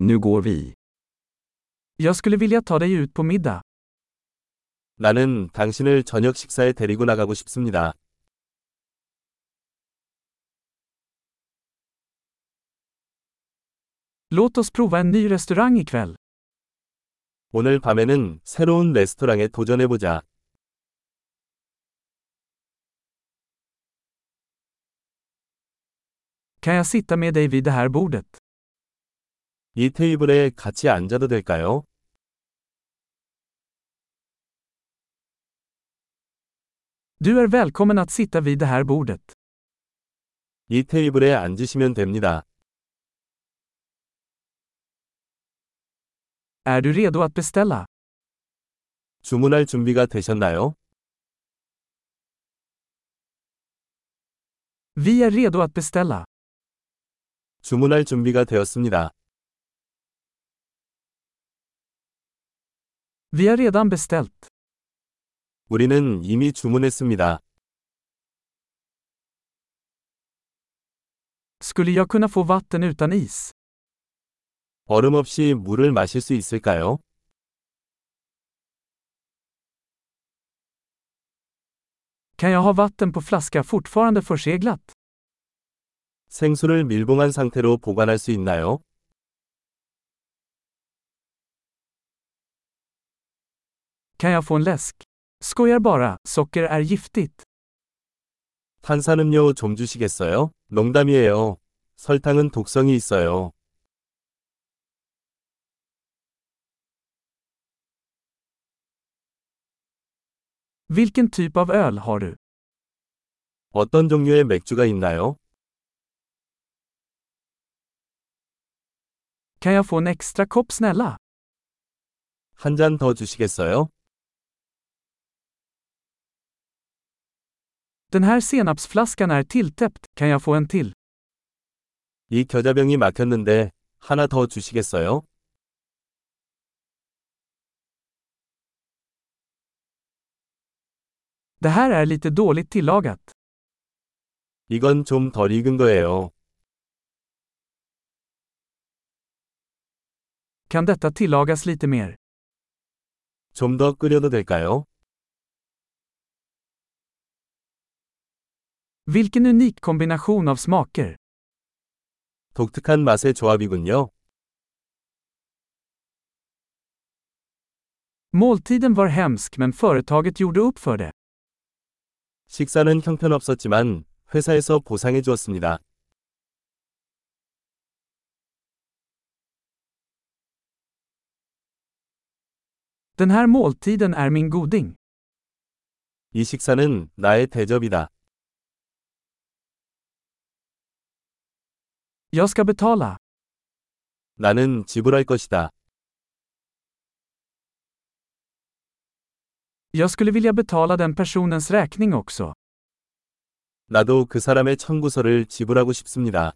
Nu går vi. Jag skulle vilja ta dig ut på middag. 나는 당신을 저녁 식사에 데리고 나가고 싶습니다. Låt oss prova en ny restaurang ikväll. 오늘 밤에는 새로운 레스토랑에 도전해보자. Kan jag sitta med dig vid det här bordet? 이 테이블에 같이 앉아도 될까요? Du är välkommen att sitta vid det här bordet. 이 테이블에 앉으시면 됩니다. Är du redo att beställa? 주문할 준비가 되셨나요? Vi är redo att beställa. 주문할 준비가 되었습니다. Vi har redan beställt. 우리는 이미 주문했습니다. Skulle jag kunna få vatten utan is? 얼음 없이 물을 마실 수 있을까요? Kan jag ha vatten på flaska fortfarande förseglat? 생수를 밀봉한 상태로 보관할 수 있나요? Kan jag få en läsk? Skojar bara, socker är giftigt. 탄산음료 좀 주시겠어요? 농담이에요. 설탕은 독성이 있어요. Vilken typ av öl har du? 어떤 종류의 맥주가 있나요? Kan jag få en extra kopp snälla? 한 잔 더 주시겠어요? Den här senapsflaskan är tilltäppt, kan jag få en till? 이 겨자병이 막혔는데 하나 더 주시겠어요? Det här är lite dåligt tillagat. 이건 좀 덜 익은 거예요. Kan detta tillagas lite mer? 좀 더 끓여도 될까요? Vilken unik kombination av smaker. 독특한 맛의 조합이군요. Måltiden var hemsk men företaget gjorde upp för det. 식사는 형편없었지만 회사에서 보상해 주었습니다. Den här måltiden är min goding. 이 식사는 나의 대접이다. Jag ska betala. 나는 지불할 것이다. Jag skulle vilja betala den personens räkning också. 나도 그 사람의 청구서를 지불하고 싶습니다.